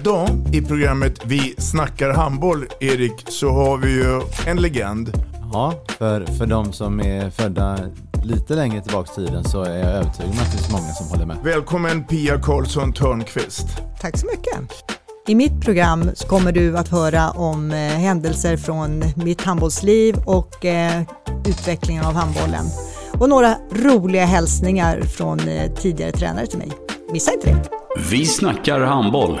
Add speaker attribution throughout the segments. Speaker 1: Idag i programmet Vi snackar handboll, Erik, så har vi ju en legend.
Speaker 2: Ja, för, för de som är födda lite längre tillbaka i tiden så är jag övertygad om att det finns många som håller med.
Speaker 1: Välkommen Pia Karlsson Törnqvist.
Speaker 3: Tack så mycket. I mitt program så kommer du att höra om eh, händelser från mitt handbollsliv och eh, utvecklingen av handbollen. Och några roliga hälsningar från eh, tidigare tränare till mig. Missa inte det.
Speaker 4: Vi snackar handboll.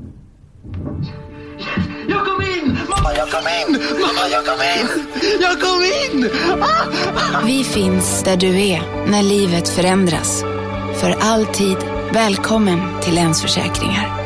Speaker 5: Jag kom in! Mamma, jag kom in! Mamma, jag kom in! Jag kom in! Ah!
Speaker 6: Vi finns där du är när livet förändras. För alltid välkommen till Länsförsäkringar.